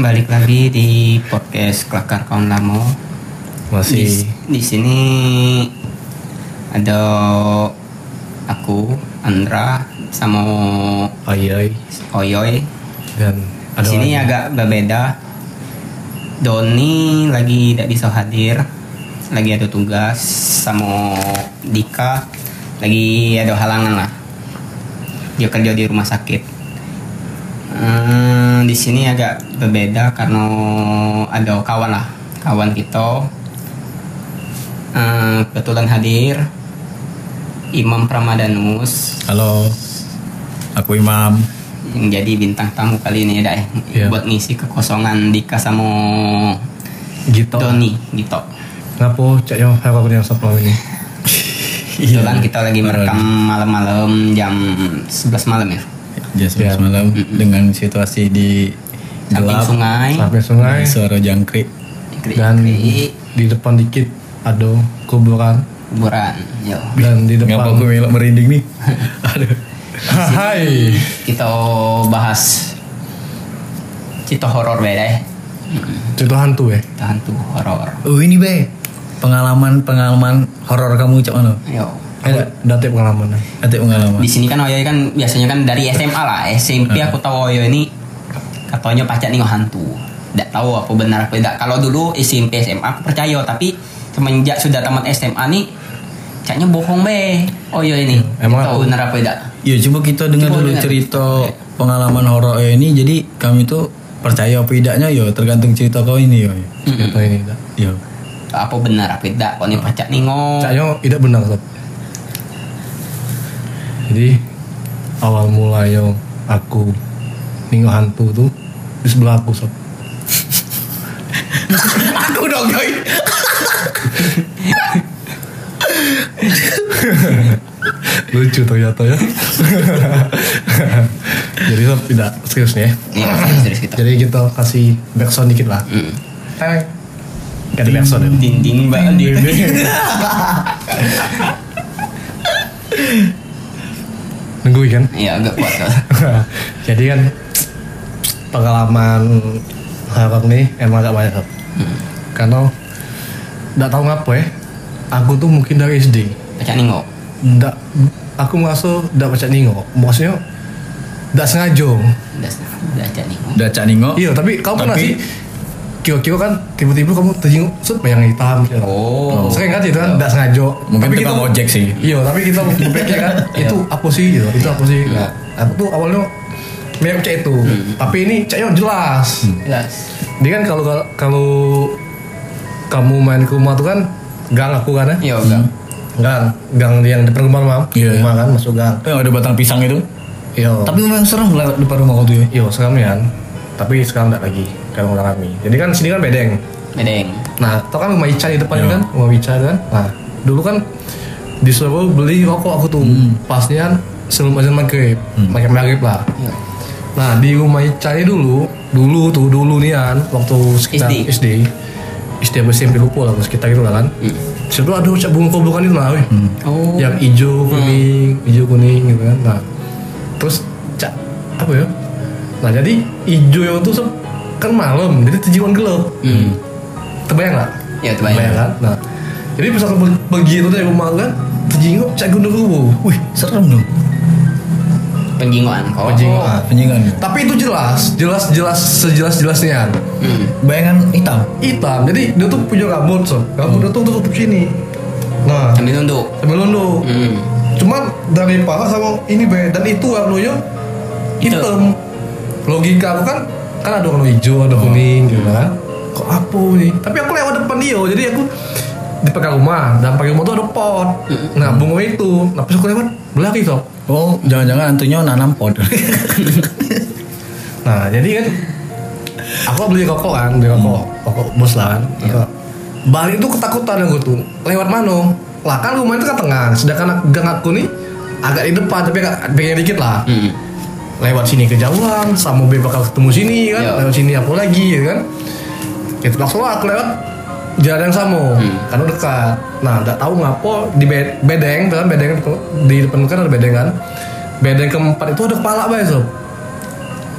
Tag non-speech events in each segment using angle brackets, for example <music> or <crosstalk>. balik lagi di podcast Kelakar Kaum Lamo. Di, Masih di sini ada aku, Andra, sama ayai Oyoy. dan Di sini ya. agak berbeda. Doni lagi tidak bisa hadir, lagi ada tugas, sama Dika lagi ada halangan lah. Dia kerja di rumah sakit. Hmm, di sini agak berbeda karena ada kawan lah, kawan kita. Hmm, kebetulan hadir Imam Pramadanus Halo, aku Imam. yang jadi bintang tamu kali ini dah Iya. buat ngisi kekosongan Dika sama Gitu. Doni gitu. Ngapo cak yo harap yang satu ini. Kebetulan kita lagi merekam malam-malam jam 11 malam ya. Ya Biar- malam dengan situasi di Samping gelap, sungai. Sampai ya, sungai suara jangkrik. Krik, dan krik, di depan dikit ada kuburan kuburan. Yo. dan di Ngapa <laughs> aku depan melok merinding nih? Aduh. Hai. Kita bahas cerita horor beda ya. Itu hantu ya. Tahan tuh horor. Oh ini be pengalaman pengalaman horor kamu cak mana? Yo. Ada Dati pengalaman. eh. ada pengalaman. Di sini kan Oyo kan biasanya kan dari SMA lah, SMP aku tahu Oyo ini katanya pacar nih hantu. Tidak tahu apa benar apa tidak. Kalau dulu SMP SMA aku percaya, tapi semenjak sudah tamat SMA nih caknya bohong be Oyo ini. Iya, Emang tahu aku- benar apa tidak? Ya coba kita dengar Coba dulu dengar. cerita pengalaman horor ini. Jadi kami tuh percaya apa tidaknya yo tergantung cerita kau ini ya. yo. Cerita ini. Dak. Yo. Apa benar apa tidak? Kok nih pacar nih ngong. Cak yo tidak benar Sob. Jadi awal mula yo aku ninggal hantu tuh di sebelah aku <laughs> sob. aku dong coy. <laughs> lucu ternyata ya <laughs> jadi lo tidak serius nih ya Ini Iya, serius serius gitu. kita. jadi kita kasih backsound dikit lah Mm. Teng. Gak ada backsound ya Dinding banget dia. <laughs> nungguin kan Iya agak kuat. tuh. <laughs> jadi kan pengalaman harap nih emang agak banyak Sob. karena nggak tahu ngapa ya aku tuh mungkin dari SD Pacar nih ngong. nggak aku merasa nggak baca ningok maksudnya nggak sengaja Udah udah cak nih ngong. Udah cak ningok. Iya, tapi kamu pernah Oh. Tapi- sih kira-kira kan tiba-tiba kamu terjenguk set bayang hitam gitu. Oh. Sering kan itu kan enggak sengaja. Iya. Mungkin tukang ojek sih. Iya. Iya, tapi <laughs> kita berpikir kan itu apa sih gitu. Itu apa sih? Nah, aku tuh awalnya mirip cek itu. Hmm. Tapi ini ceknya jelas. Jelas. Dia kan kalau kalau- kalau kamu main ke rumah tuh kan gang aku kan ya. Iya enggak. Gang, gang yang depan rumah mam. Iya. Rumah kan masuk gang. Eh, ada batang pisang itu. Iya. Tapi memang serem lewat depan rumah kau tuh ya. iya sekarang ya. Tapi sekarang enggak lagi kalau kami. Jadi kan sini kan bedeng. Bedeng. Nah, tau kan rumah Ica di depan Iya. kan? Rumah Ica kan? Nah, dulu kan di Surabaya beli rokok aku tuh. Pasnya kan sebelum azan maghrib. Maghrib maghrib lah. Iya. Nah, di rumah Ica ini dulu, dulu tuh, dulu nih kan, waktu sekitar SD. SD. SD. apa SMP lupa lah, sekitar gitu lah kan. Situ ada ucap bunga koblokan itu lah, weh. Oh. Yang hijau kuning, hijau kuning gitu kan. Nah, terus cak apa ya? Nah, jadi hijau yang itu sep- kan malam, jadi tujuan gelap. Hmm. Terbayang nggak? Ya terbayang. kan? Nah, jadi pas aku per- pergi itu dari rumah kan, terjenguk cak gunung ruwo. Wih, serem dong. Penjingoan kok. Oh. Penjingoan. Penyingan. Nah, Tapi itu jelas, jelas, jelas, sejelas jelasnya. Hmm. Bayangan hitam. Hitam. Jadi dia tuh punya rambut, so. Rambut dia tuh tutup sini. Nah, Sambil tunduk. sambil londo. Hmm. Cuman dari pala sama ini be dan itu warnanya hitam. Logika aku kan kan ada warna hijau, ada kuning gitu kan. Kok apa nih? Tapi aku lewat depan dia, oh. jadi aku di depan rumah, dan pakai rumah tuh ada pot. Nah, bunga itu. Nah, pas aku lewat belakang itu. Oh, jangan-jangan antunya nanam pot. Nah, jadi kan aku beli rokok kan, beli rokok, rokok bos lah kan. Rokok. Balik tuh ketakutan aku tuh. Lewat mana? Lah kan rumah itu kan tengah, sedangkan gang aku nih agak di depan tapi agak pengen dikit lah. Hmm. Lewat sini kejauhan, sama B bakal ketemu sini kan, Iya. lewat sini aku lagi ya kan. Itu langsung aku lewat jalan yang sama, karena dekat. Nah, nggak tahu ngapo di be- bedeng, kan bedeng di depan kan ada bedeng kan. Bedeng keempat itu ada kepala, Bay, Sob.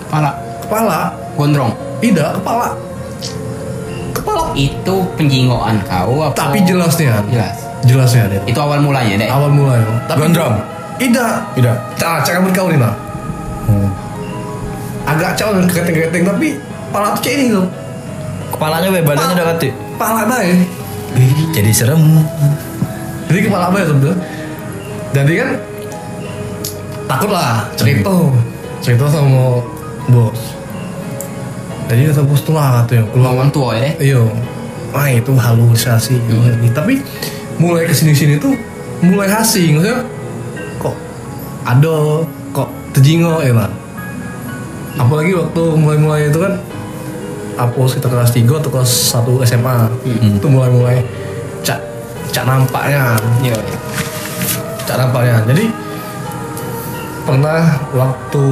Kepala Kepala gondrong. Tidak, kepala. Kepala. itu penjingoan kau apa Tapi jelasnya. Jelas. Jelasnya deh. itu awal mulanya deh Awal mulai. Tapi Gondrong. Tidak. Tidak. Nah, cakap kau nih nah. Oh. Agak calon kegeteng-kegeteng tapi kepala tuh kayak ini loh. Kepalanya be, badannya udah katik. Kepala baik. Ih, jadi serem. Jadi kepala apa ya sebenernya? Jadi kan takut lah cerita cerita sama bos. Jadi kata bos tuh lah katanya keluar orang tua ya deh Iya. Wah itu halusinasi. ya. Tapi mulai kesini sini tuh mulai asing. Maksudnya kok ada kok terjingo ya lah. Apalagi waktu mulai-mulai itu kan apa kita kelas 3 atau kelas 1 SMA itu mulai-mulai cak cak nampaknya iya cak nampaknya jadi pernah waktu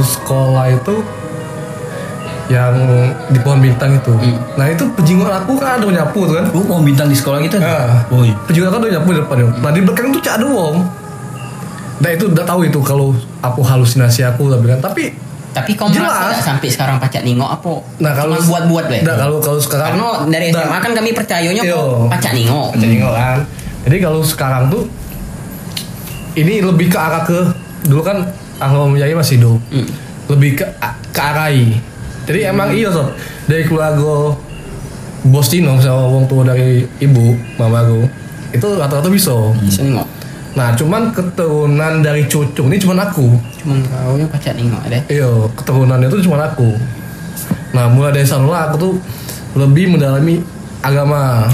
sekolah itu yang di pohon bintang itu Hmm. nah itu pejingot aku kan ada nyapu tuh kan Gue mau bintang di sekolah gitu. Ah. Woi. pejingot aku ada nyapu di depan nah di belakang tuh cak ada wong nah itu udah tahu itu kalau aku halusinasi aku tapi kan tapi tapi kau merasa Jelas. nggak sampai sekarang pacak ningo apa nah kalau buat buat deh nah kalau kalau sekarang karena dari Nah, SMA kan kami percayanya Iya. kok pacak ningo Jadi nggak kan. Jadi kalau sekarang tuh ini lebih ke arah ke dulu kan Ahmad Mujai masih hidup. Hmm. Lebih ke ke arah I. Jadi emang iya sob dari keluarga bos Tino sama wong tua dari ibu mama aku itu rata-rata bisa. bisa ningo Nah cuman keturunan dari cucu ini cuman aku. cuman kau yang pacak ningo deh Iya keturunannya itu cuman aku. Nah mulai dari sana aku tuh lebih mendalami agama.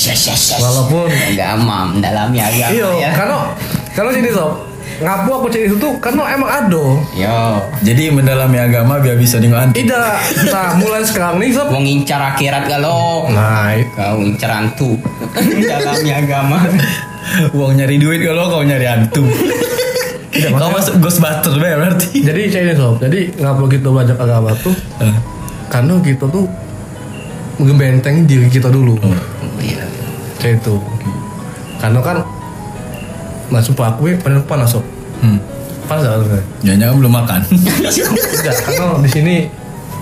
Walaupun agama mendalami agama Iya, ya karena karena sini sob, ngapu aku cek itu tuh karena emang ada. yo Jadi mendalami agama biar bisa nengok hantu. Tidak, nah mulai sekarang nih sob. mau ngincar akhirat kalau Nah, i- kau ngincar hantu mendalami agama Uang nyari duit kalau kau nyari hantu. kau masuk Ghostbuster be berarti. jadi cek ini sob, jadi ngapu kita belajar agama tuh Ah. karena kita tuh ngebenteng diri kita dulu. Iya. Kayak itu. Karena kan nah sumpah aku ya panas panas sob. Hmm. Panas gak? Sob? Jangan-jangan belum makan. Tidak, karena di sini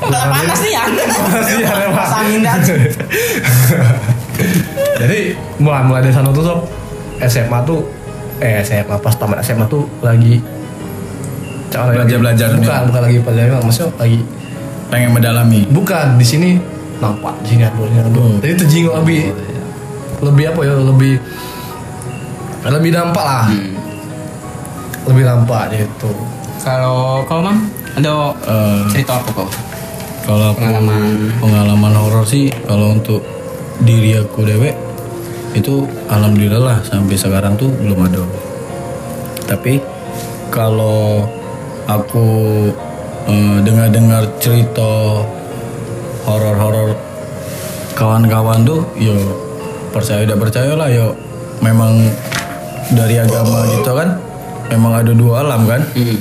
Udah panas nih ya. Panas nih ya, memang. Pas angin dah. <laughs> Jadi mulai mulai dari sana tuh sob SMA tuh eh SMA pas tamat SMA tuh lagi cara Belajar-belajar nih. bukan bukan lagi pelajaran maksudnya lagi Pengen mendalami. bukan di sini nampak di sini ada di sini ada Hmm. jadi itu jingo lebih lebih apa ya lebih lebih nampak lah Hmm. lebih nampak gitu Kalau kau mam ada Eh, cerita apa kau? kalau aku- Pengalaman. pengalaman horor sih kalau untuk diri aku dewe itu alhamdulillah lah sampai sekarang tuh belum ada tapi kalau aku eh, dengar-dengar cerita horor-horor kawan-kawan tuh yo percaya tidak percaya lah yo memang dari agama gitu kan memang ada dua alam kan Hmm.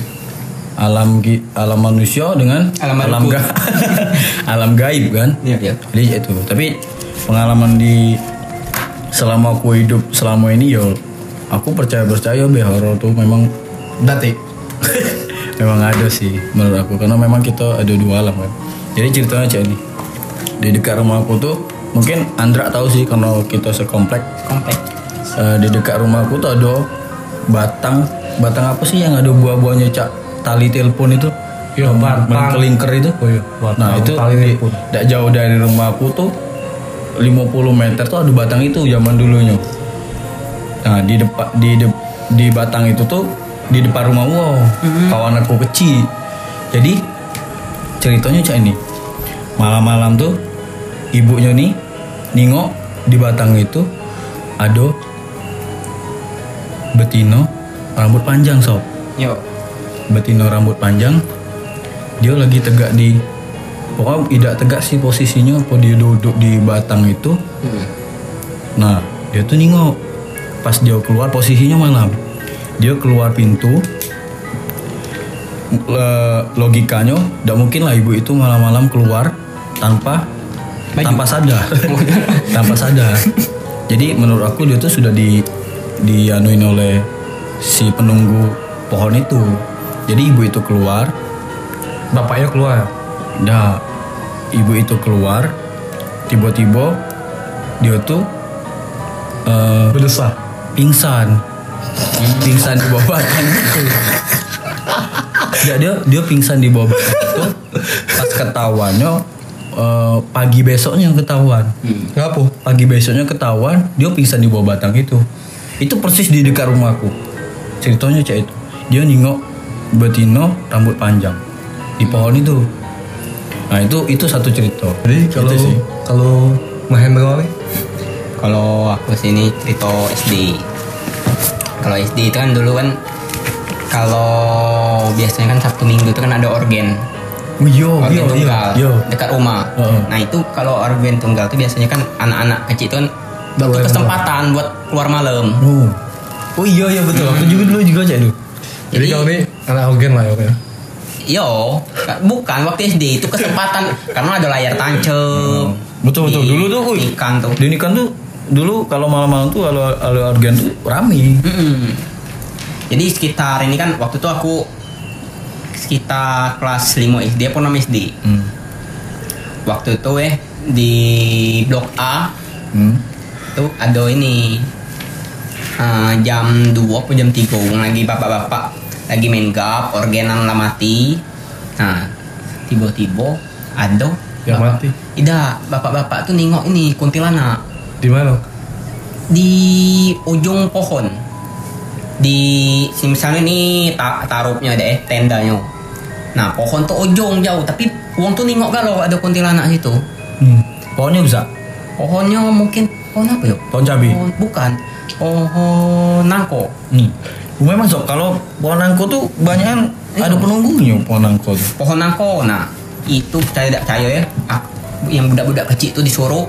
alam gi- alam manusia dengan Alam alam, malakut. ga- <laughs> alam gaib kan Iya. Iya. jadi itu tapi pengalaman di selama aku hidup selama ini yo aku percaya percaya be horor tuh memang dati <laughs> memang ada sih menurut aku karena memang kita ada dua alam kan jadi ceritanya aja nih di dekat rumah aku tuh mungkin Andra tahu sih karena kita sekomplek Komplek. Eh, di dekat rumah aku tuh ada batang batang apa sih yang ada buah-buahnya cak tali telepon itu Iya, Yang batang. berkelingker Hmm, itu Oh iya, batang nah itu tali di- telepon. tidak jauh dari rumah aku tuh 50 meter tuh ada batang itu zaman dulunya nah di depan di de- di batang itu tuh di depan rumah wow kawan aku kecil jadi ceritanya cak ini malam-malam tuh ibunya nih ningok di batang itu ada betino rambut panjang sob Yo. betino rambut panjang dia lagi tegak di pokoknya tidak tegak sih posisinya apa dia duduk di batang itu Hmm. nah dia tuh nengok pas dia keluar posisinya malam dia keluar pintu Eh, logikanya tidak mungkin lah ibu itu malam-malam keluar tanpa Baju. tanpa sadar tanpa sadar jadi menurut aku dia tuh sudah di dianuin oleh si penunggu pohon itu jadi ibu itu keluar bapaknya keluar ya. Nah, ibu itu keluar tiba-tiba dia tuh eh, Berdesah. pingsan pingsan di bawah batang itu Ya, dia dia pingsan di bawah batang itu pas ketahuannya eh, pagi besoknya ketahuan Ngapo? pagi besoknya ketahuan dia pingsan di bawah batang itu itu persis di dekat rumahku ceritanya cek itu dia nengok betino rambut panjang di pohon itu nah itu itu satu cerita Jadi kalau Itu sih. kalau ngehandle nih Kalau aku sini cerita SD. Kalau SD itu kan dulu kan kalau biasanya kan Sabtu Minggu itu kan ada organ. Oh, iya, Organ iya, iya, tunggal iya. dekat rumah. Heeh. Nah itu kalau organ tunggal itu biasanya kan anak-anak kecil itu kan Nggak butuh boleh kesempatan buat keluar malam. Oh. Oh iya iya betul. Aku juga dulu juga cek dulu. Jadi, kalau ini anak organ lah ya. Pak, ya. Yo, bukan waktu SD itu kesempatan <laughs> karena ada layar tancap. Hmm. Betul betul. Di- Dulu tuh, wih. Ikan tuh. Di Nikan tuh dulu kalau malam-malam tuh kalau kalau organ tuh rame. Mm-mm. Jadi sekitar ini kan waktu itu aku sekitar kelas 5 SD apa 6 SD. Hmm. Waktu itu eh di blok A Hmm. tuh ada ini eh, jam 2 apa jam 3 orang lagi bapak-bapak lagi main gap organan lah mati. Nah, tiba-tiba ada Yang bapak- mati. Tidak, bapak-bapak tuh nengok ini kuntilanak Di mana? di ujung pohon di si- misalnya nih ta tarupnya deh tendanya nah pohon tuh ujung jauh tapi uang tuh nengok kalau ada kuntilanak situ Hmm. Pohonnya bisa. pohonnya mungkin pohon apa yuk Pohon cabe. pohon bukan pohon nangko Hmm. Memang sob kalau pohon nangko tuh banyak kan ada penunggunya pohon nangko tuh. pohon nangko nah itu percaya tidak percaya ya ak- yang budak-budak kecil tuh disuruh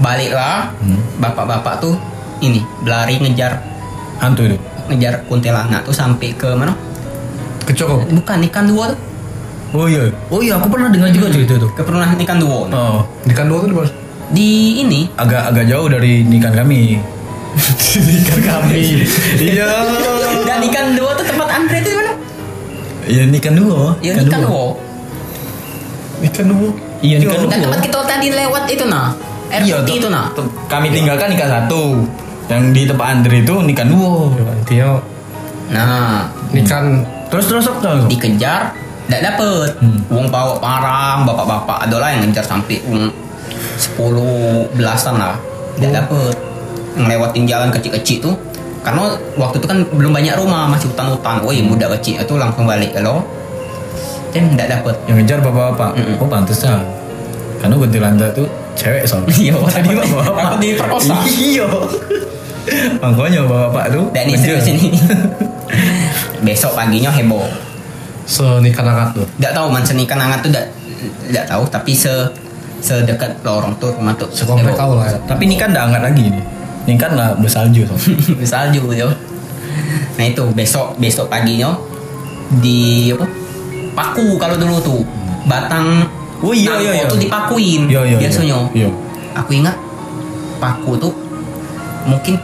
baliklah Hmm. bapak-bapak tuh ini berlari ngejar Hantu itu. ngejar kuntilanak tuh sampai ke mana Kecoko. bukan ikan dua tuh Oh iya. Oh iya aku pernah dengar juga cerita itu. keperunahan ikan duo Oh. Di kantor tuh di mana? di ini Agak agak jauh dari nikan <laughs> kami. Ikan kami. Iya. dan ikan duo tuh tempat antre itu di mana Ya nikan dua. ya ikan duo Ikan dulu. Iya dan nikan dua. Iya, tempat kita tadi lewat itu nah air putih itu nah tem- Kami tinggalkan nikah satu. Yang di tempat Andre itu nikah dua. Hmm. Ya, Intinya nah ikan Terus terus apa? dikejar tidak dapet uang bawa parang bapak-bapak ada lah yang ngejar sampai uang sepuluh belasan lah tidak dapet ngelewatin jalan kecil-kecil tuh karena waktu itu kan belum banyak rumah masih hutan-hutan woi muda kecil itu langsung balik lo dan tidak dapet Yang ngejar bapak-bapak. Mm-mm. Oh pantesan. Karena kuntilanak tuh cewek soalnya. <laughs> Iya, tadi takut- bapak-bapak. takut diperkosa. <laughs> Iya. Makanya bapak-bapak tuh. dan ini ngejar. serius ini <laughs> besok paginya heboh senikan angkat tuh. Tidak tahu mansen ikan hangat tuh tidak tidak tahu tapi se sedekat lorong tuh rumah tuh Sekomplek heboh. kau lah ya. Tapi ini kan nggak hangat lagi ini. Ini kan nggak bersalju <laughs> soalnya. salju gitu nah itu besok besok paginya di apa paku kalau dulu tuh batang Oh, iya, iya, nangko iya. tuh dipakuin Iya, iya, iya. biasanya Iya. aku ingat paku tuh mungkin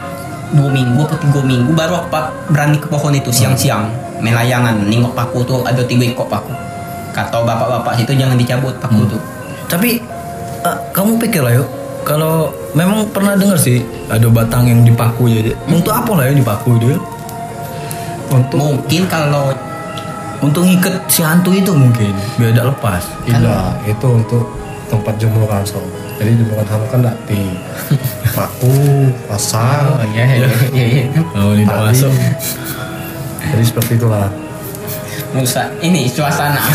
dua minggu atau tiga minggu baru aku pa- berani ke pohon itu siang-siang main layangan nengok paku tuh ada tiga ekor paku kata bapak-bapak situ jangan dicabut paku Hmm. tuh Tapi eh, kamu pikir lah yuk. Kalau memang pernah dengar sih ada batang yang dipaku jadi. Untuk apa lah ya dipaku dia? Untuk mungkin kalau Untuk ngiket si hantu itu mungkin biar tidak lepas. Iya, itu untuk tempat jemur langsung. Jadi jemur langsung <laughs> kan dati. Paku, gitu. pasang, iya iya iya Oh, tidak Tadi. masuk. Jadi seperti itulah. Musa ini suasana <laughs>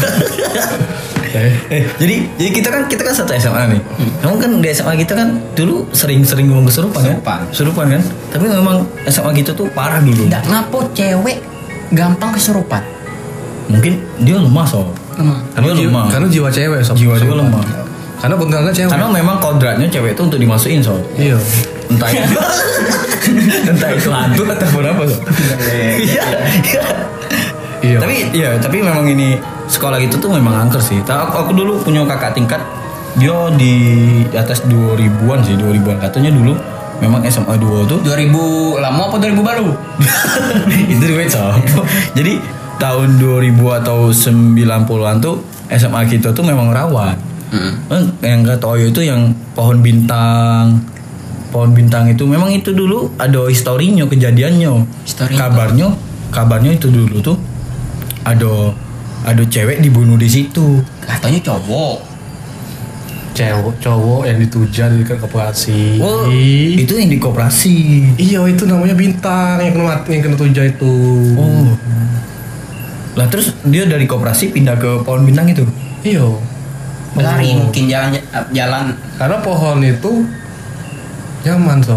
Eh, <laughs> Eh, jadi jadi kita kan kita kan satu SMA nih. Kamu kan di SMA kita kan dulu sering-sering ngomong kesurupan kan? Kesurupan. Kesurupan kan? Tapi memang SMA kita tuh parah dulu. Nggak ngapo cewek gampang kesurupan Mungkin dia lemah sob. Emang. Dia lemah. jiwa- karena jiwa cewek sob. Jiwa dia Sob. lemah. Karena kuntilanak cewek. Karena memang kodratnya cewek itu untuk dimasukin sob. Iya. Entah ya. itu <laughs> entah itu hantu ataupun apa sob. Iya. iya. Iya. Tapi iya, tapi memang ini sekolah itu tuh memang angker sih. Ta- Aku, aku dulu punya kakak tingkat dia di atas 2000-an sih, 2000-an katanya dulu memang SMA 2 tuh 2000 lama apa 2000 <laughs> baru itu duit siapa? <laughs> Jadi tahun 2000 atau 90-an tuh SMA kita tuh memang rawan. Eh, yang nggak tahu itu yang pohon bintang pohon bintang itu memang itu dulu ada historinya kejadiannya Histori apa? kabarnya kabarnya itu dulu tuh ada ada cewek dibunuh di situ Katanya cowok. cewek cowok yang dituja di dekat koperasi Wah, itu yang di koperasi iya itu namanya bintang yang kena mati- yang kena tuja itu oh lah terus dia dari koperasi pindah ke pohon bintang itu iya Oh. Lari mungkin jalan jalan karena pohon itu nyaman sob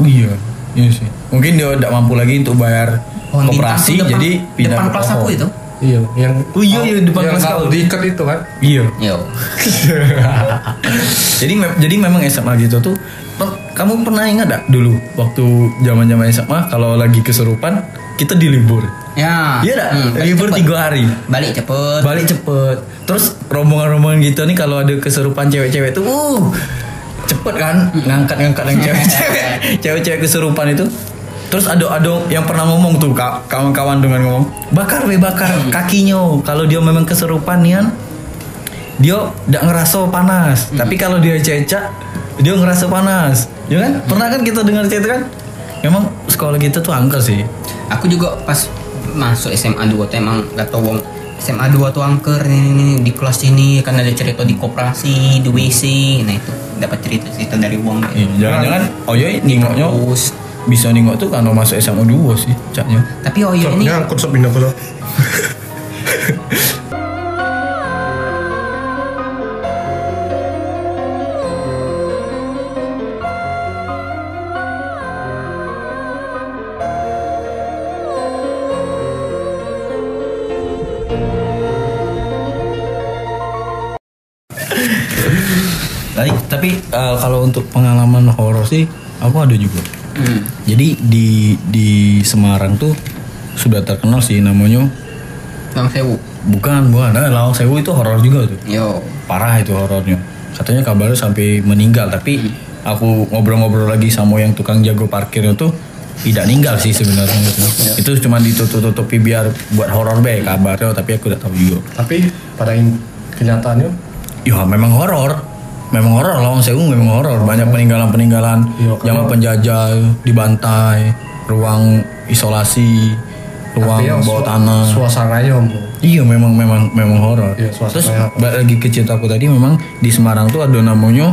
oh iya iya sih mungkin dia tidak mampu lagi untuk bayar pohon bintang Oh, koperasi tuh depan, jadi pindah depan ke kelas pohon. aku itu. iya yang Oh, iya, iya, depan yang kelas nggak kau. diikat itu kan iya <laughs> Yo. jadi mem- jadi memang SMA gitu tuh per- kamu pernah ingat gak dulu waktu zaman zaman SMA kalau lagi kesurupan kita dilibur Ya. iya gak? Hmm, balik libur cepet. tiga hari Balik cepet. balik cepet terus rombongan-rombongan gitu nih kalau ada kesurupan cewek-cewek tuh uh, cepet kan ngangkat-ngangkat yang <laughs> cewek-cewek cewek-cewek kesurupan itu terus ada ada yang pernah ngomong tuh ka- kawan-kawan dengan ngomong bakar we bakar kakinya kalau dia memang kesurupan nian dia tidak ngerasa panas tapi kalau dia cecak dia ngerasa panas ya kan pernah kan kita dengar cerita kan emang sekolah kita tuh angker sih Aku juga pas masuk SMA 2 tuh emang gak tau wong SMA 2 tuh angker nih, nih, nih, di kelas ini kan ada cerita di koperasi, di WC. Nah itu dapat cerita-cerita dari wong. Ih, Iya, jangan-jangan oyoy nengoknya Terus bisa nengok tuh kalau masuk SMA 2 sih caknya tapi Iya, Oyo ini ya. Sopnya Iya, angkut sob pindah ke sob. tapi, tapi eh, kalau untuk pengalaman horor sih aku ada juga hmm, jadi di di Semarang tuh sudah terkenal sih namanya Bang Sewu. bukan bukan eh, Lawang Sewu itu horor juga tuh Yo. parah itu horornya katanya kabarnya sampai meninggal tapi aku ngobrol-ngobrol lagi sama yang tukang jago parkir itu tidak meninggal sih sebenarnya gitu. itu cuma ditutup-tutupi biar buat horor be kabarnya tapi aku tidak tahu juga tapi pada in- kenyataannya Ya memang horor. Memang horor Lawang Sewu memang horor. Banyak peninggalan-peninggalan Iya, zaman penjajah dibantai, ruang isolasi, ruang tapi yang su- bawah tanah. suasananya om Iya memang memang memang horor. Iya, suasana Terus yang- balik lagi ke cerita aku tadi memang di Semarang tuh ada namanya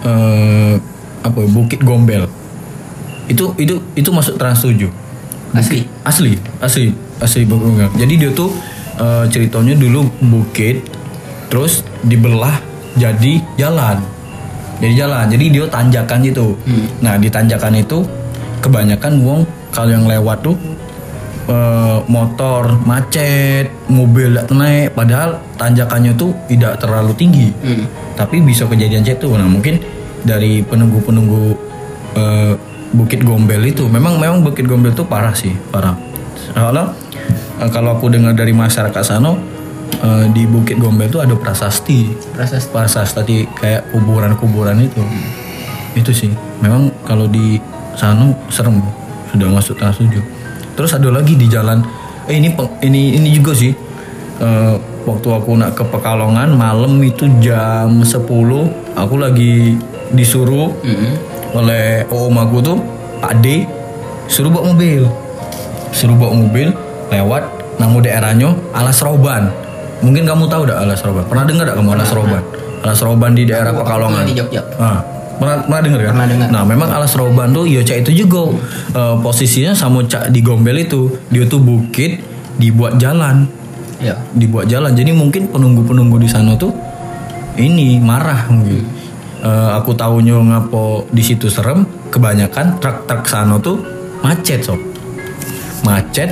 eh, apa ya, Bukit Gombel. Itu itu itu masuk Trans 7 Asli. asli asli asli Bukit Unggal. jadi dia tuh eh, ceritanya dulu bukit terus dibelah jadi jalan jadi jalan jadi dia tanjakan gitu nah di tanjakan itu kebanyakan wong kalau yang lewat tuh eh, motor macet mobil nggak naik padahal tanjakannya tuh tidak terlalu tinggi Hmm. tapi bisa kejadian kayak itu nah mungkin dari penunggu-penunggu eh, Bukit Gombel itu memang memang Bukit Gombel itu parah sih parah kalau eh, kalau aku dengar dari masyarakat sana eh, di Bukit Gombel itu ada prasasti Prasasti. prasasti tadi kayak kuburan-kuburan itu itu sih memang kalau di sana serem sudah masuk tanah suju terus ada lagi di jalan eh, ini peng- ini ini juga sih Eh, waktu aku nak ke Pekalongan malam itu jam 10 aku lagi disuruh Mm-mm. oleh om aku tuh Pak D suruh bawa mobil suruh bawa mobil lewat nama daerahnya Alas Roban mungkin kamu tahu dah Alas Roban pernah dengar gak kamu Alas Roban Alas Roban di daerah Aku- aku Pekalongan pernah di Jogja. Ah, pernah pernah dengar kan? Pernah dengar. Nah, memang alas roban tuh ya cak itu juga eh, posisinya sama cak di Gombel itu. Dia tuh bukit dibuat jalan, Yo. dibuat jalan. Jadi mungkin penunggu-penunggu di sana tuh ini marah mungkin. Eh, aku tahunya ngapo di situ serem, kebanyakan truk-truk sana tuh macet sob. Macet,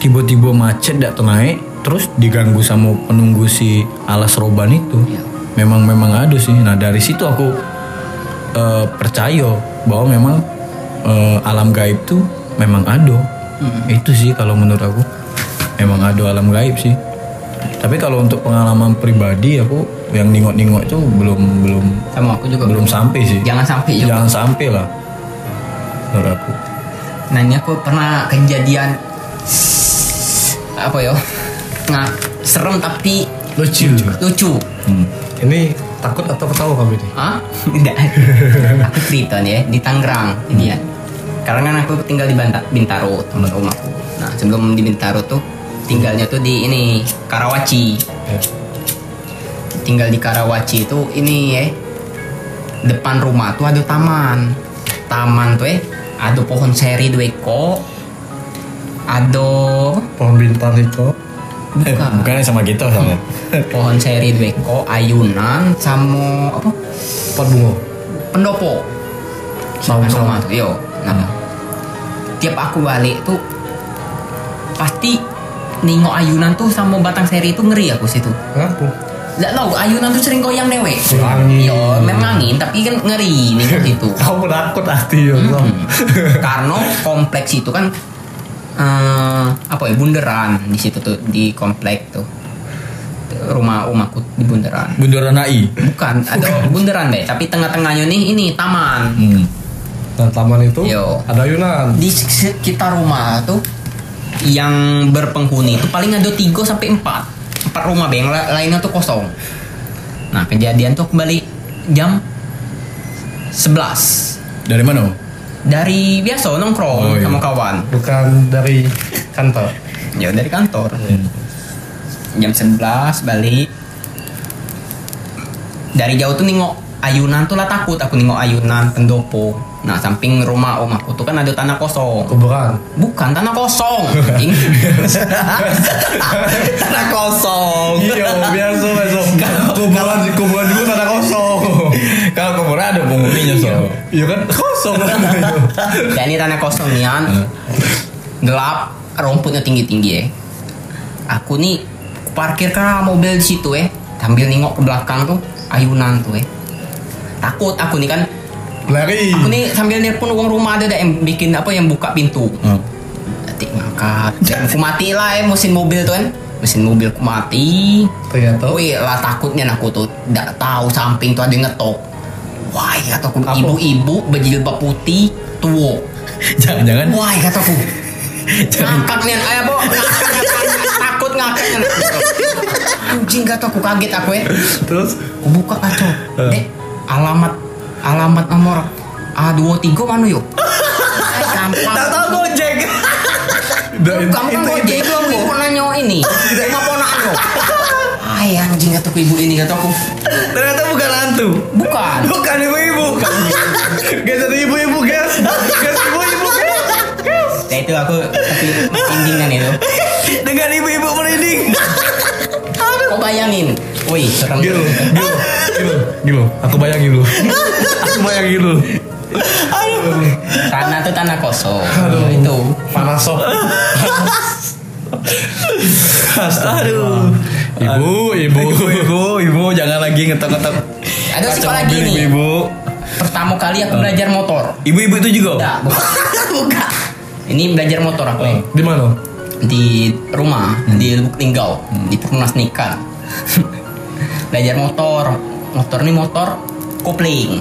tiba-tiba macet gak naik, terus diganggu sama penunggu si alas roban itu. Iya. Memang memang ada sih. Nah dari situ aku eh, percaya bahwa memang eh, alam gaib tuh memang ada. Itu sih kalau menurut aku memang ada alam gaib sih. Tapi kalau untuk pengalaman pribadi aku yang ningok-ningok itu belum belum Sama aku juga. belum sampai sih. Jangan sampai juga. Jangan sampai lah. Menurut aku. Nah ini aku pernah kejadian apa yo? Nah serem tapi Lucu. lucu. Hmm. Ini takut atau ketawa kamu ini? Hah? <laughs> Enggak. aku Triton ya di Tangerang ini ya. Karena kan aku tinggal di Banta- Bintaro tempat rumahku. Nah sebelum di Bintaro tuh tinggalnya tuh di ini Karawaci. Ya. Tinggal di Karawaci itu ini ya depan rumah tuh ada taman. Taman tuh eh ada pohon seri dua ekor. Ada Pohon bintang itu. Eh, bukan bukannya sama kita ya? <laughs> sama. pohon seri dua ekor ayunan sama apa Pot bunga. pendopo sama sama tuh yo nah tiap aku balik tuh pasti nengok ayunan tuh sama batang seri itu ngeri aku situ Kenapa? nggak tahu ayunan tuh sering goyang dewe Angin. yo memang angin tapi kan ngeri nih <laughs> situ Kau penakut hati ya. Tom. karena kompleks itu kan eh, apa ya bunderan di situ tuh di komplek tuh rumah rumahku di bunderan Bundaran AI. bukan ada bunderan deh tapi tengah-tengahnya nih ini taman Hmm. Dan Nah, taman itu Yo. ada Yunan. di sekitar rumah tuh yang berpenghuni itu paling ada 3 sampai 4 empat rumah bang la- lainnya tuh kosong nah kejadian tuh kembali jam 11 Dari mana? Om? dari biasa nongkrong Oh, iya. sama kawan Bukan dari kantor. ya dari kantor Iya. jam 11 balik dari jauh tuh nengok ayunan tuh lah takut aku nengok ayunan pendopo nah samping rumah omahku tuh kan ada tanah kosong Kuburan. Bukan tanah kosong. anjing. <laughs> tanah kosong. Iya, biasa besok. Kuburan kuburan dulu tanah kosong. Kalau kuburan ada penghuninya so. Iya kan kosong kan. Dan Ya, ini tanah kosong Nian. Gelap, rumputnya tinggi-tinggi ya. Aku nih parkir kan mobil di situ ya. Sambil nengok ke belakang tuh ayunan tuh ya. Takut aku nih kan. Lari. Aku nih sambil nelpon uang rumah ada dah yang bikin apa yang buka pintu. Hmm. Nanti ngangkat. Dan aku mati lah ya mesin mobil tuh kan. Mesin mobil aku mati. Ternyata Wih lah takutnya aku tuh nggak tahu samping tuh ada yang ngetok. Wah kata aku Apa? ibu-ibu berjilbab putih tua. <laughs> Jangan-jangan Wah kata aku. Ngakak nih, ayah bo, ngakak, ngakak, takut ngakak nih. Anjing kata aku kaget aku ya. terus Aku buka kaca, dek alamat alamat nomor A23 mana yuk? Eh, Tahu-tahu gojek. da- kamu kan mau jadi lo ibu nanya ini mau ponaan lo ay anjing kata aku, ibu ini kata aku Ternyata bukan hantu. bukan Bukan ibu-ibu. Guys ada ibu-ibu guys. Guys ibu-ibu guys. ya itu aku tapi intinya itu Dengan ibu-ibu merinding. kau bayangin wih serem Gitu. Gil, Gil, Gil, Gil, aku bayangin lu. Aku bayangin lu. tanah tuh tanah kosong Iya, itu Panas sob. Aduh. Ibu, ibu. Ibu, ibu, ibu, jangan lagi ngetok-ngetok. ada kaca sih kalau lagi mobil, nih Ibu. pertama kali aku belajar motor Ibu-ibu itu juga. Om? enggak bukan <laughs> bukan ini belajar motor aku ya. Di mana? di rumah di Lubuk Linggau di Perumnas Nika belajar motor motor nih motor kopling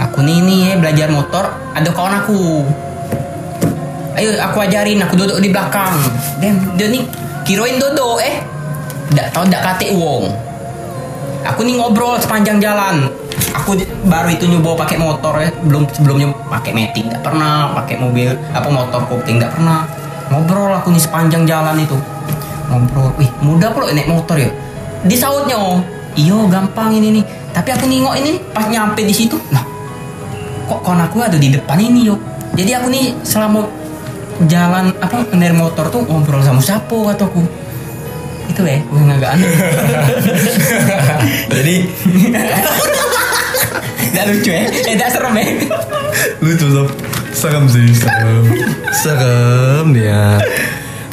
aku nih nih ya, belajar motor ada kawan aku ayo aku ajarin aku duduk di belakang dan dia nih kiroin duduk eh nggak tahu nggak kate uang aku nih ngobrol sepanjang jalan aku di- baru itu nyoba pakai motor ya belum sebelumnya pakai matic nggak pernah pakai mobil apa motor kopling nggak pernah ngobrol aku nih sepanjang jalan itu ngobrol wih mudah pula naik motor ya di sautnya iyo gampang ini nih tapi aku nengok ini pas nyampe di situ nah kok kon aku ada di depan ini yuk jadi aku nih selama jalan apa kendaraan motor tuh ngobrol sama siapa kataku itu ya gue nggak Jadi <laughs> Gak lucu ya? Eh, gak serem ya? Lucu sob. Serem sih, serem. Serem ya.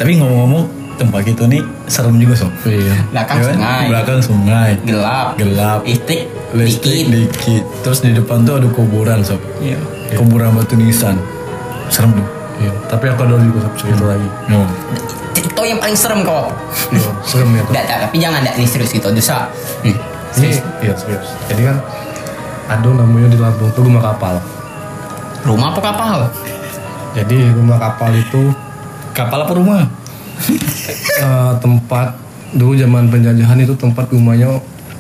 tapi ngomong-ngomong tempat itu nih serem juga sob. Iya. Belakang Ya kan? sungai. Belakang sungai. Gelap. Gelap. Listrik. Listrik dikit. dikit. Terus di depan tuh ada kuburan sob. Iya. Kuburan batu nisan. Serem tuh. Iya, tapi aku ada juga sob cerita lagi. Oh. Itu yang paling serem kok. Iya, serem ya. Sob. Gak, gak, tapi jangan gak nih serius gitu. Dosa. Hmm. Ini iya serius. Jadi kan ada namanya di Lampung tuh rumah kapal. Rumah apa kapal? Jadi rumah kapal itu Kapal apa rumah? eh, tempat dulu zaman penjajahan itu tempat rumahnya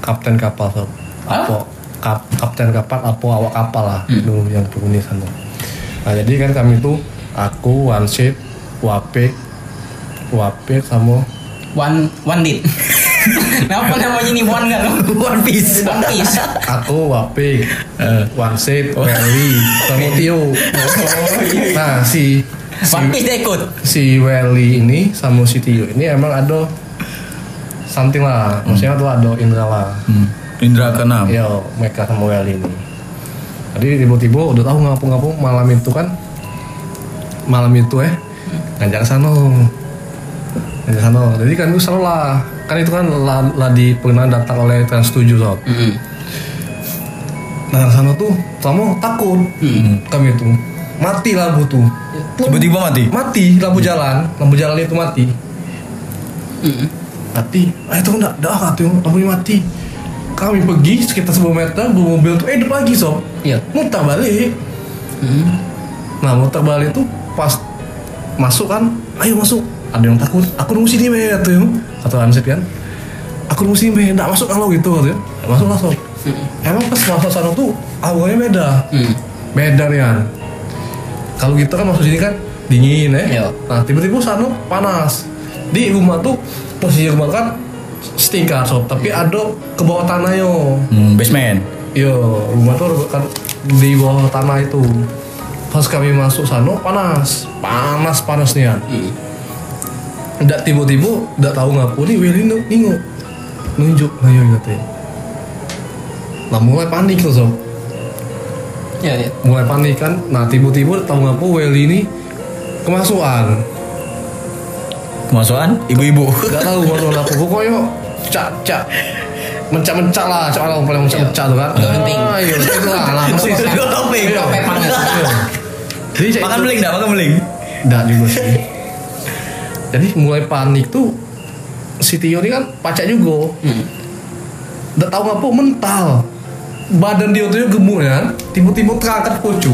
kapten kapal sob. Apo kap, kapten kapal apo awak kapal lah dulu yang penghuni sana. Nah jadi kan kami tuh aku Wansit, Wapik, Wapik sama One One Dit. <laughs> Kenapa namanya ini <laughs> One gak lo? One Piece. One <laughs> Piece. aku eh, Wapik, Wansit, Welly, sama Tio. Nah si One Piece dia ikut. si Welly ini sama si Tio ini emang ada something lah maksudnya tuh ada Indra lah Hmm. Indra keenam. yo mereka sama Welly ini jadi tiba-tiba udah tahu ngapung-ngapung malam itu kan malam itu eh ngajak ke sana ngajak ke sana jadi kan gue selalu lah kan itu kan lah, lah di pernah datang oleh Trans 7 sob Mm-mm. nah ke sana tuh kamu takut kami itu mati lah butuh Hmm. Tiba-tiba mati. Hmm. mati lampu jalan lampu jalan itu mati Mm-mm. mati ah itu enggak dah tuh lampunya mati kami pergi sekitar 10 meter bawa mobil tuh eh hidup lagi sob Iya. mutar balik Mm-mm. nah mutar balik tuh pas masuk kan ayo masuk ada yang takut aku nunggu sini be tuh atau Anset kan aku nunggu sini be enggak masuk kalau gitu katanya "Nggak masuk lah sob Hmm. emang pas masuk sana tuh awalnya beda Mm. beda nih kan kalau kita kan masuk sini kan dingin Iya. ya nah tiba-tiba sana panas di rumah tuh posisi rumah kan setingkat sob tapi ada ke bawah tanah yo Hmm, basement. yo rumah tuh kan di bawah tanah itu pas kami masuk sana panas panas panas nih kan Mm. ndak tiba-tiba ndak tahu ngapu nih Willy nu- nengok nunjuk nah yo katanya nah mulai panik tuh sob Iya, iya. mulai panik kan nah tiba-tiba tahu nggak apa Welly ini kemasukan Kemasukan <laughs> ibu-ibu. nggak tahu kemasukan apa pokoknya cak cak mencak mencak lah cak lah paling mencak mencak tuh kan Nggak penting. Ah, iya itu lah lah Si mencak- Nggak penting. Iya. Nggak penting. Iya. jadi cak Makan itu- beling enggak? Makan beling. nggak juga sih jadi mulai panik tuh si Tio ini kan pacak juga Mm. nggak tahu ngapa mental badan dia tuh gemuk ya kan? tiba-tiba terangkat pucuk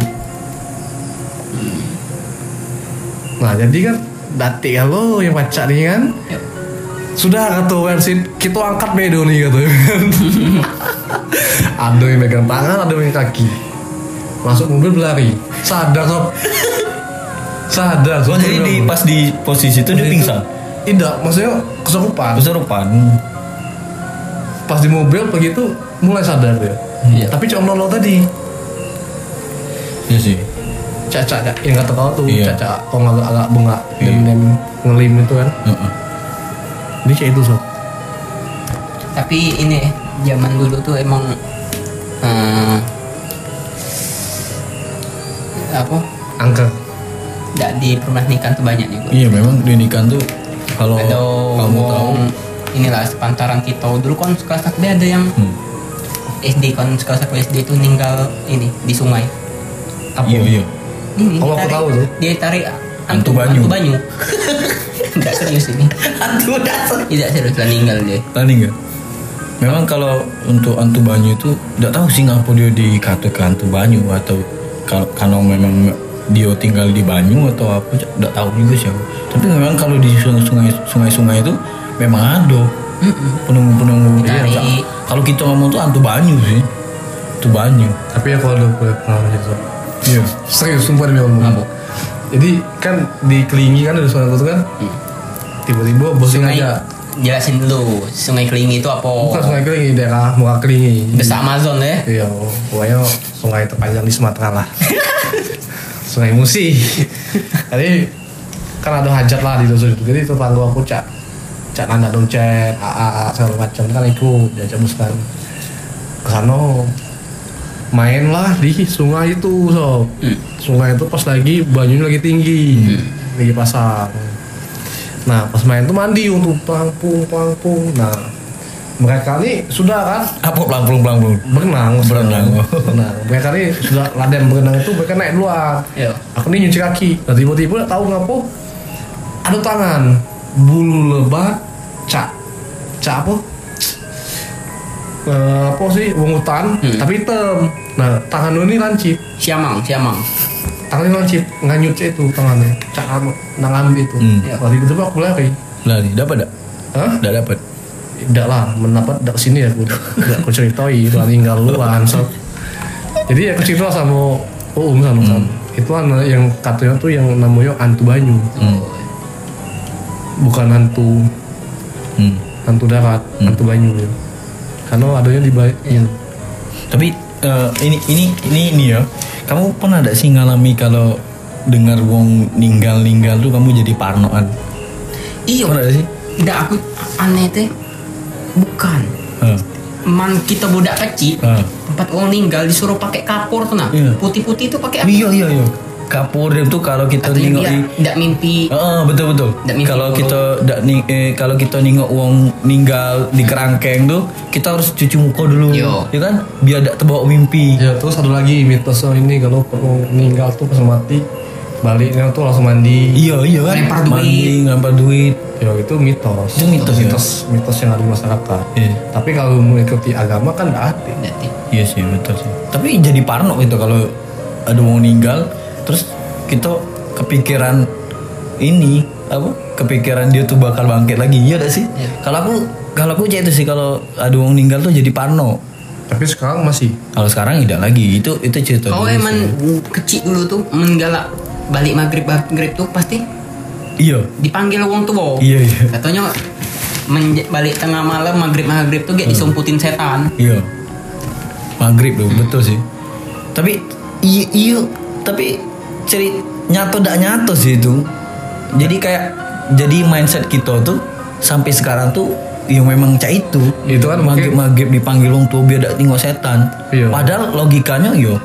nah jadi kan dati kalau yang pacak nih kan Ya. Yap. sudah kata Wensin kita angkat bedo nih kata <laughs> kan ada yang megang tangan ada yang megang kaki masuk mobil berlari sadar sob <laughs> sadar Oh, sob jadi di pas di posisi itu dia pingsan. tidak maksudnya kesurupan Kesurupan. pas di mobil begitu mulai sadar dia Hmm. Iya. tapi cuma nol tadi Iya sih. caca ya, caca yang kata kau tuh Iya. caca kau agak agak bengak Iya. dem dem ngelim itu kan Heeh. ini kayak itu sob Tapi ini zaman dulu tuh emang eh, apa? angker Tidak dipermanahkan tuh banyak juga. Iya, memang di nikahan tuh kalau Ada kamu tahu wong- inilah sepantaran kita dulu kan sekolah sakti ada yang Hmm. SD kan sekolah sakti SD itu ninggal ini di sungai. apa Iya, iya. Ini Oh, aku ditarik- tahu tuh. Dia tarik Hantu banyu. Hantu banyu. <laughs> Enggak serius ini. Aduh dasar. Tidak serius lah ninggal dia. Tadi nggak? Memang kalau untuk antu banyu itu nggak tahu sih ngapa dia dikata ke antu banyu atau kalau kalau memang dia tinggal di banyu atau apa nggak tahu juga sih aku. Tapi memang kalau di sungai-sungai sungai-sungai itu memang ada penunggu-penunggu. Iya. Iya, Kak. Kalau kita ngomong tuh antu banyu sih, antu banyu. tapi ya kalau udah boleh pengalaman itu sob Iya. serius sumpah demi Allah Apa? jadi kan di Kelingi kan ada suara itu kan Hmm. tiba-tiba bos Sungai aja jelasin dulu Sungai Kelingi itu apa? bukan Oh. sungai Kelingi daerah muka Kelingi Desa Amazon ya. iya pokoknya sungai terpanjang di Sumatera lah sungai Musi jadi kan ada hajat lah di dosa itu jadi tetangga aku cak cak nanda doncet aa segala macam kan ikut diajak bus kan kesana main lah di sungai itu sob sungai itu pas lagi banyunya lagi tinggi lagi pasang nah pas main tuh mandi untuk pangpung pangpung nah mereka nih sudah kan Apa pelang pelang pelang berenang Berenang. berenang mereka nih sudah laden berenang itu mereka naik duluan Iya. aku nih nyuci kaki nah, tiba-tiba tahu ngapa ada tangan bulu lebat cak cak apa Eh, apa sih wong hutan Hmm. tapi hitam nah tangan lu ini lancip Siamang, Siamang. tangan ini lancip nganyut itu tangannya cak nang ambil itu Hmm. waktu itu aku lari Lari, dapat nggak? Hah? Udah dapet. Tidak lah, mendapat dari sini ya aku. Enggak aku ceritain, lah tinggal lu ansot. Jadi aku cerita sama Uum sama Hmm. sama. Itu anak yang katanya tuh yang namanya hantu banyu, Hmm. bukan hantu Hmm. hantu darat, hantu banyu. ya. Karena adanya di banyu. Tapi eh, ini ini ini ini ya. Kamu pernah ada sih ngalami kalau dengar wong ninggal-ninggal tuh kamu jadi parnoan? Iya. Pernah ada sih? Nggak aku aneh teh. Bukan. Heeh. Man kita budak kecil. Heeh. Tempat orang ninggal disuruh pakai kapur tuh nah. Iya. Putih-putih itu pakai apa? Iya iya iya. Kapur dia tuh kalau kita Katanya nengok dia di Oh. nggak mimpi. Heeh, betul betul. Ndak mimpi Kalau buruk. kita ndak ning- eh, kalau kita nengok wong ninggal di kerangkeng tuh, kita harus cuci muka dulu. Yo. Ya kan? Biar ndak terbawa Iya. mimpi. Ya terus ada lagi mitosnya ini kalau orang meninggal tuh pas mati baliknya tuh langsung mandi. Iya iya kan. Lempar duit. Mandi, lempar duit. Ya itu mitos. Itu mitos, ya? mitos, mitos yang ada di masyarakat. Iya. Tapi kalau mengikuti agama kan nggak ada. Nggak tahu. Iya sih betul sih. Tapi jadi parno gitu kalau ada wong ninggal, terus kita kepikiran ini apa? Kepikiran dia tuh bakal bangkit lagi. Iya gak sih? Iya. Kalau aku kalau aku cek itu sih kalau ada wong ninggal tuh jadi parno. Tapi sekarang masih. Kalau sekarang tidak lagi. Itu itu cerita. Kau dulu emang sih. kecil dulu tuh menggalak balik maghrib maghrib tuh pasti Iya. dipanggil wong tua. Iya, iya. Katanya menje- balik tengah malam maghrib maghrib tuh Hmm. kayak disumputin setan. Iya. Maghrib loh, betul sih. Tapi iya, iya tapi ceri nyato dak nyato sih itu. Jadi kayak jadi mindset kita tuh sampai sekarang tuh yang memang cak itu. Itu kan maghrib mungkin- maghrib dipanggil wong tua biar dak tinggal setan. Iya. Padahal logikanya yo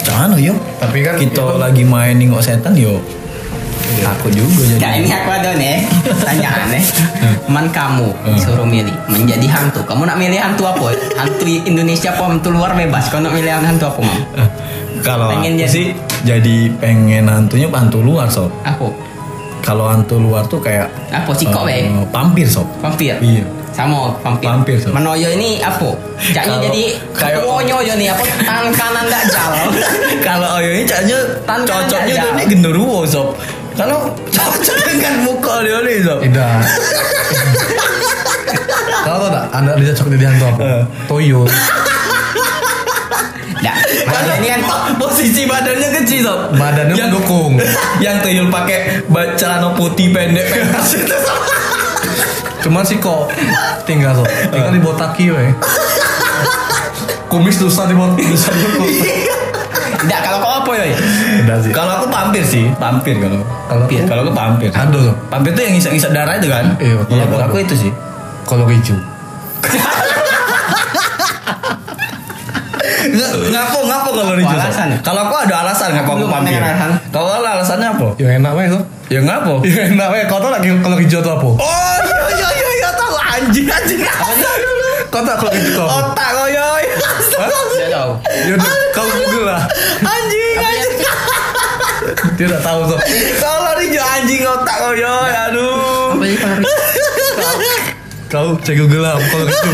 Jangan yo. Tapi kan kita itu- lagi main nengok setan yo. Aku juga jadi. Ya ini aku ada nih tanyaan nih. Man kamu disuruh milih menjadi hantu. Kamu nak milih hantu apa? Hantu Indonesia apa hantu luar bebas. Kau nak milih hantu apa mam? Eh, Kalau Pengen aku jadi- sih jadi pengen hantunya hantu luar sob. Apa? Kalau hantu luar tuh kayak Apa cikok eh, be? Pampir sob. Vampir. Iya. Sama vampir. Vampir, so. Manoyo ini apa? Caknya Kalau- jadi kayak- wonyo aja nih apa tangan kanan enggak jalan. Kalau Ayo ini caknya Tan- cocoknya tan- tuh ini genderuwo sob. Kalau cocok dengan muka dia nih sob. Tidak. Tahu tau tak? Anak dia cocok jadi hantu apa? Eh. Toyo. Nah, Manoyo ini kan posisi badannya kecil sob. Badannya Yang- mendukung. <laughs> yang tuyul pakai ba- celana putih pendek pentas itu sob. Cuman sih kok tinggal so. Eh. Tinggal dibotaki weh. <laughs> Kumis susah dibot susah dibot. Iya. Enggak, kalau kau apa ya? Udah sih. Kalau aku pampir sih, pampir kalau. Iya, Kalau aku- kalau aku pampir. Ada sob. Pampir tuh yang ngisap-ngisap darah itu kan? Iya, kalau Iya, aku kalau ada. aku itu sih. Kalau hijau. Nggak, ngapo ngapo kalau Rijo? alasan? Kalau aku ada alasan ngapo aku Lu pampir. pengen alasan? Kalau lu alasannya apa? Yang enak weh so. Ya ngapo? Yang enak weh. Kau tau lagi kalau hijau tuh apa? Oh, iya iya iya iya tahu anjing anjing. Kau tau kalau hijau tuh apa? Otak kau yo. Enggak tahu. Ya udah, kau google lah. Anjing <laughs> anjing. Dia udah tahu sob. Kalau Rijo anjing otak kau yo. Aduh. Apa sih Pak Haris? Kau cek google lah gitu. kalau hijau.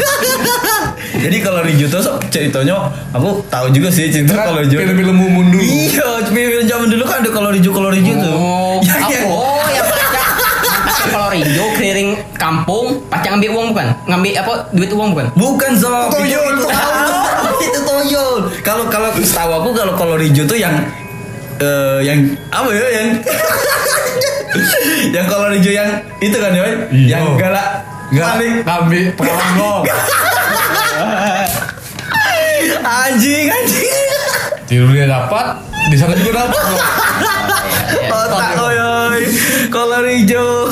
Jadi kalau Rijo tuh sob, ceritanya aku tahu juga sih Kan cerita kalau ya. Rijo. Film-film mundur. Iya, film zaman dulu kan ada kalau Rijo kalau Rijo tuh. Ya, Oh, Yang- apa? yang- Oh, yang pacak. Pacak kalau Rinjo keliling kampung, pacak ngambil uang bukan? Ngambil apa? Duit uang bukan? Bukan Sob. Tuyul, Itu- itu- tuyul. <laughs> Itu tuyul. Kalau kalau setahu aku kalau kolor hijau tuh yang eh, yang apa ya yang <laughs> yang kolor hijau yang itu kan ya, Boy? Iya. yang galak Enggak, paling ngambil pelongo. anjing anjing. Di dunia dapat, di sana juga dapat. Bro. Otak koyoy. Kolor hijau.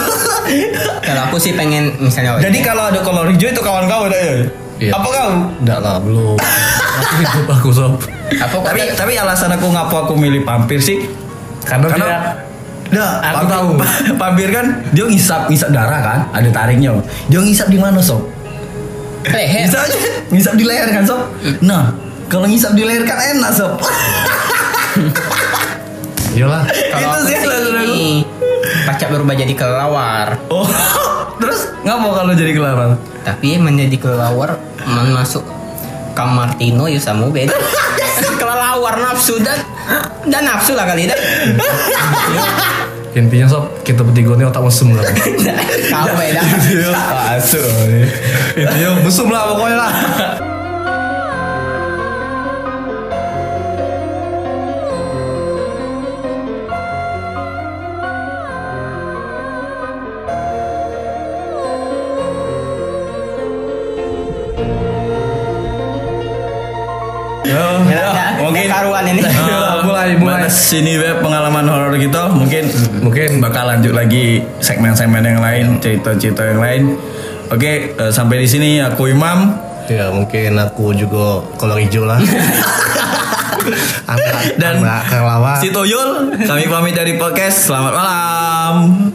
Kalau aku sih pengen misalnya Jadi kalau ada kolor hijau itu kawan kau ada ya? Iya. Apa kau? Enggak lah, belum. Masih hidup aku sob. apa Tapi tapi tapi alasan aku ngapo aku milih pampir sih Karena, Karena- tidak Nah, ya? Aku tahu. Pampir kan dia ngisap ngisap darah kan, ada tariknya. Dia ngisap di mana sob? leher. Ngisap, ngisap di leher kan sob? Nah, kalau ngisap di leher kan enak sob. iyalah. Kalau Itu aku sih sih alasan aku. ini pacak berubah jadi kelawar. Oh, <laughs> terus ngapa kalau jadi kelaran? Tapi menjadi kelawar masuk kamar Tino ya sama <laughs> beda. <laughs> kelawar nafsu dan dan nafsu lah kali dah. Intinya sob, kita bertiga ini otak mesum <laughs> lah. Kau ah. beda. Iya, Asuh. Intinya mesum lah pokoknya lah. <laughs> Mungkin Ya, karuan ini. Nah, Oh, mulai mulai. Batas sini web pengalaman horor kita mungkin Mungkin. bakal lanjut lagi segmen-segmen yang lain, cerita-cerita yang lain. Oke, eh, sampai di sini aku Imam Ya mungkin aku juga kolor hijau <laughs> lah. Anak dan anak kelawar. si Toyol. Kami pamit dari podcast. Selamat malam.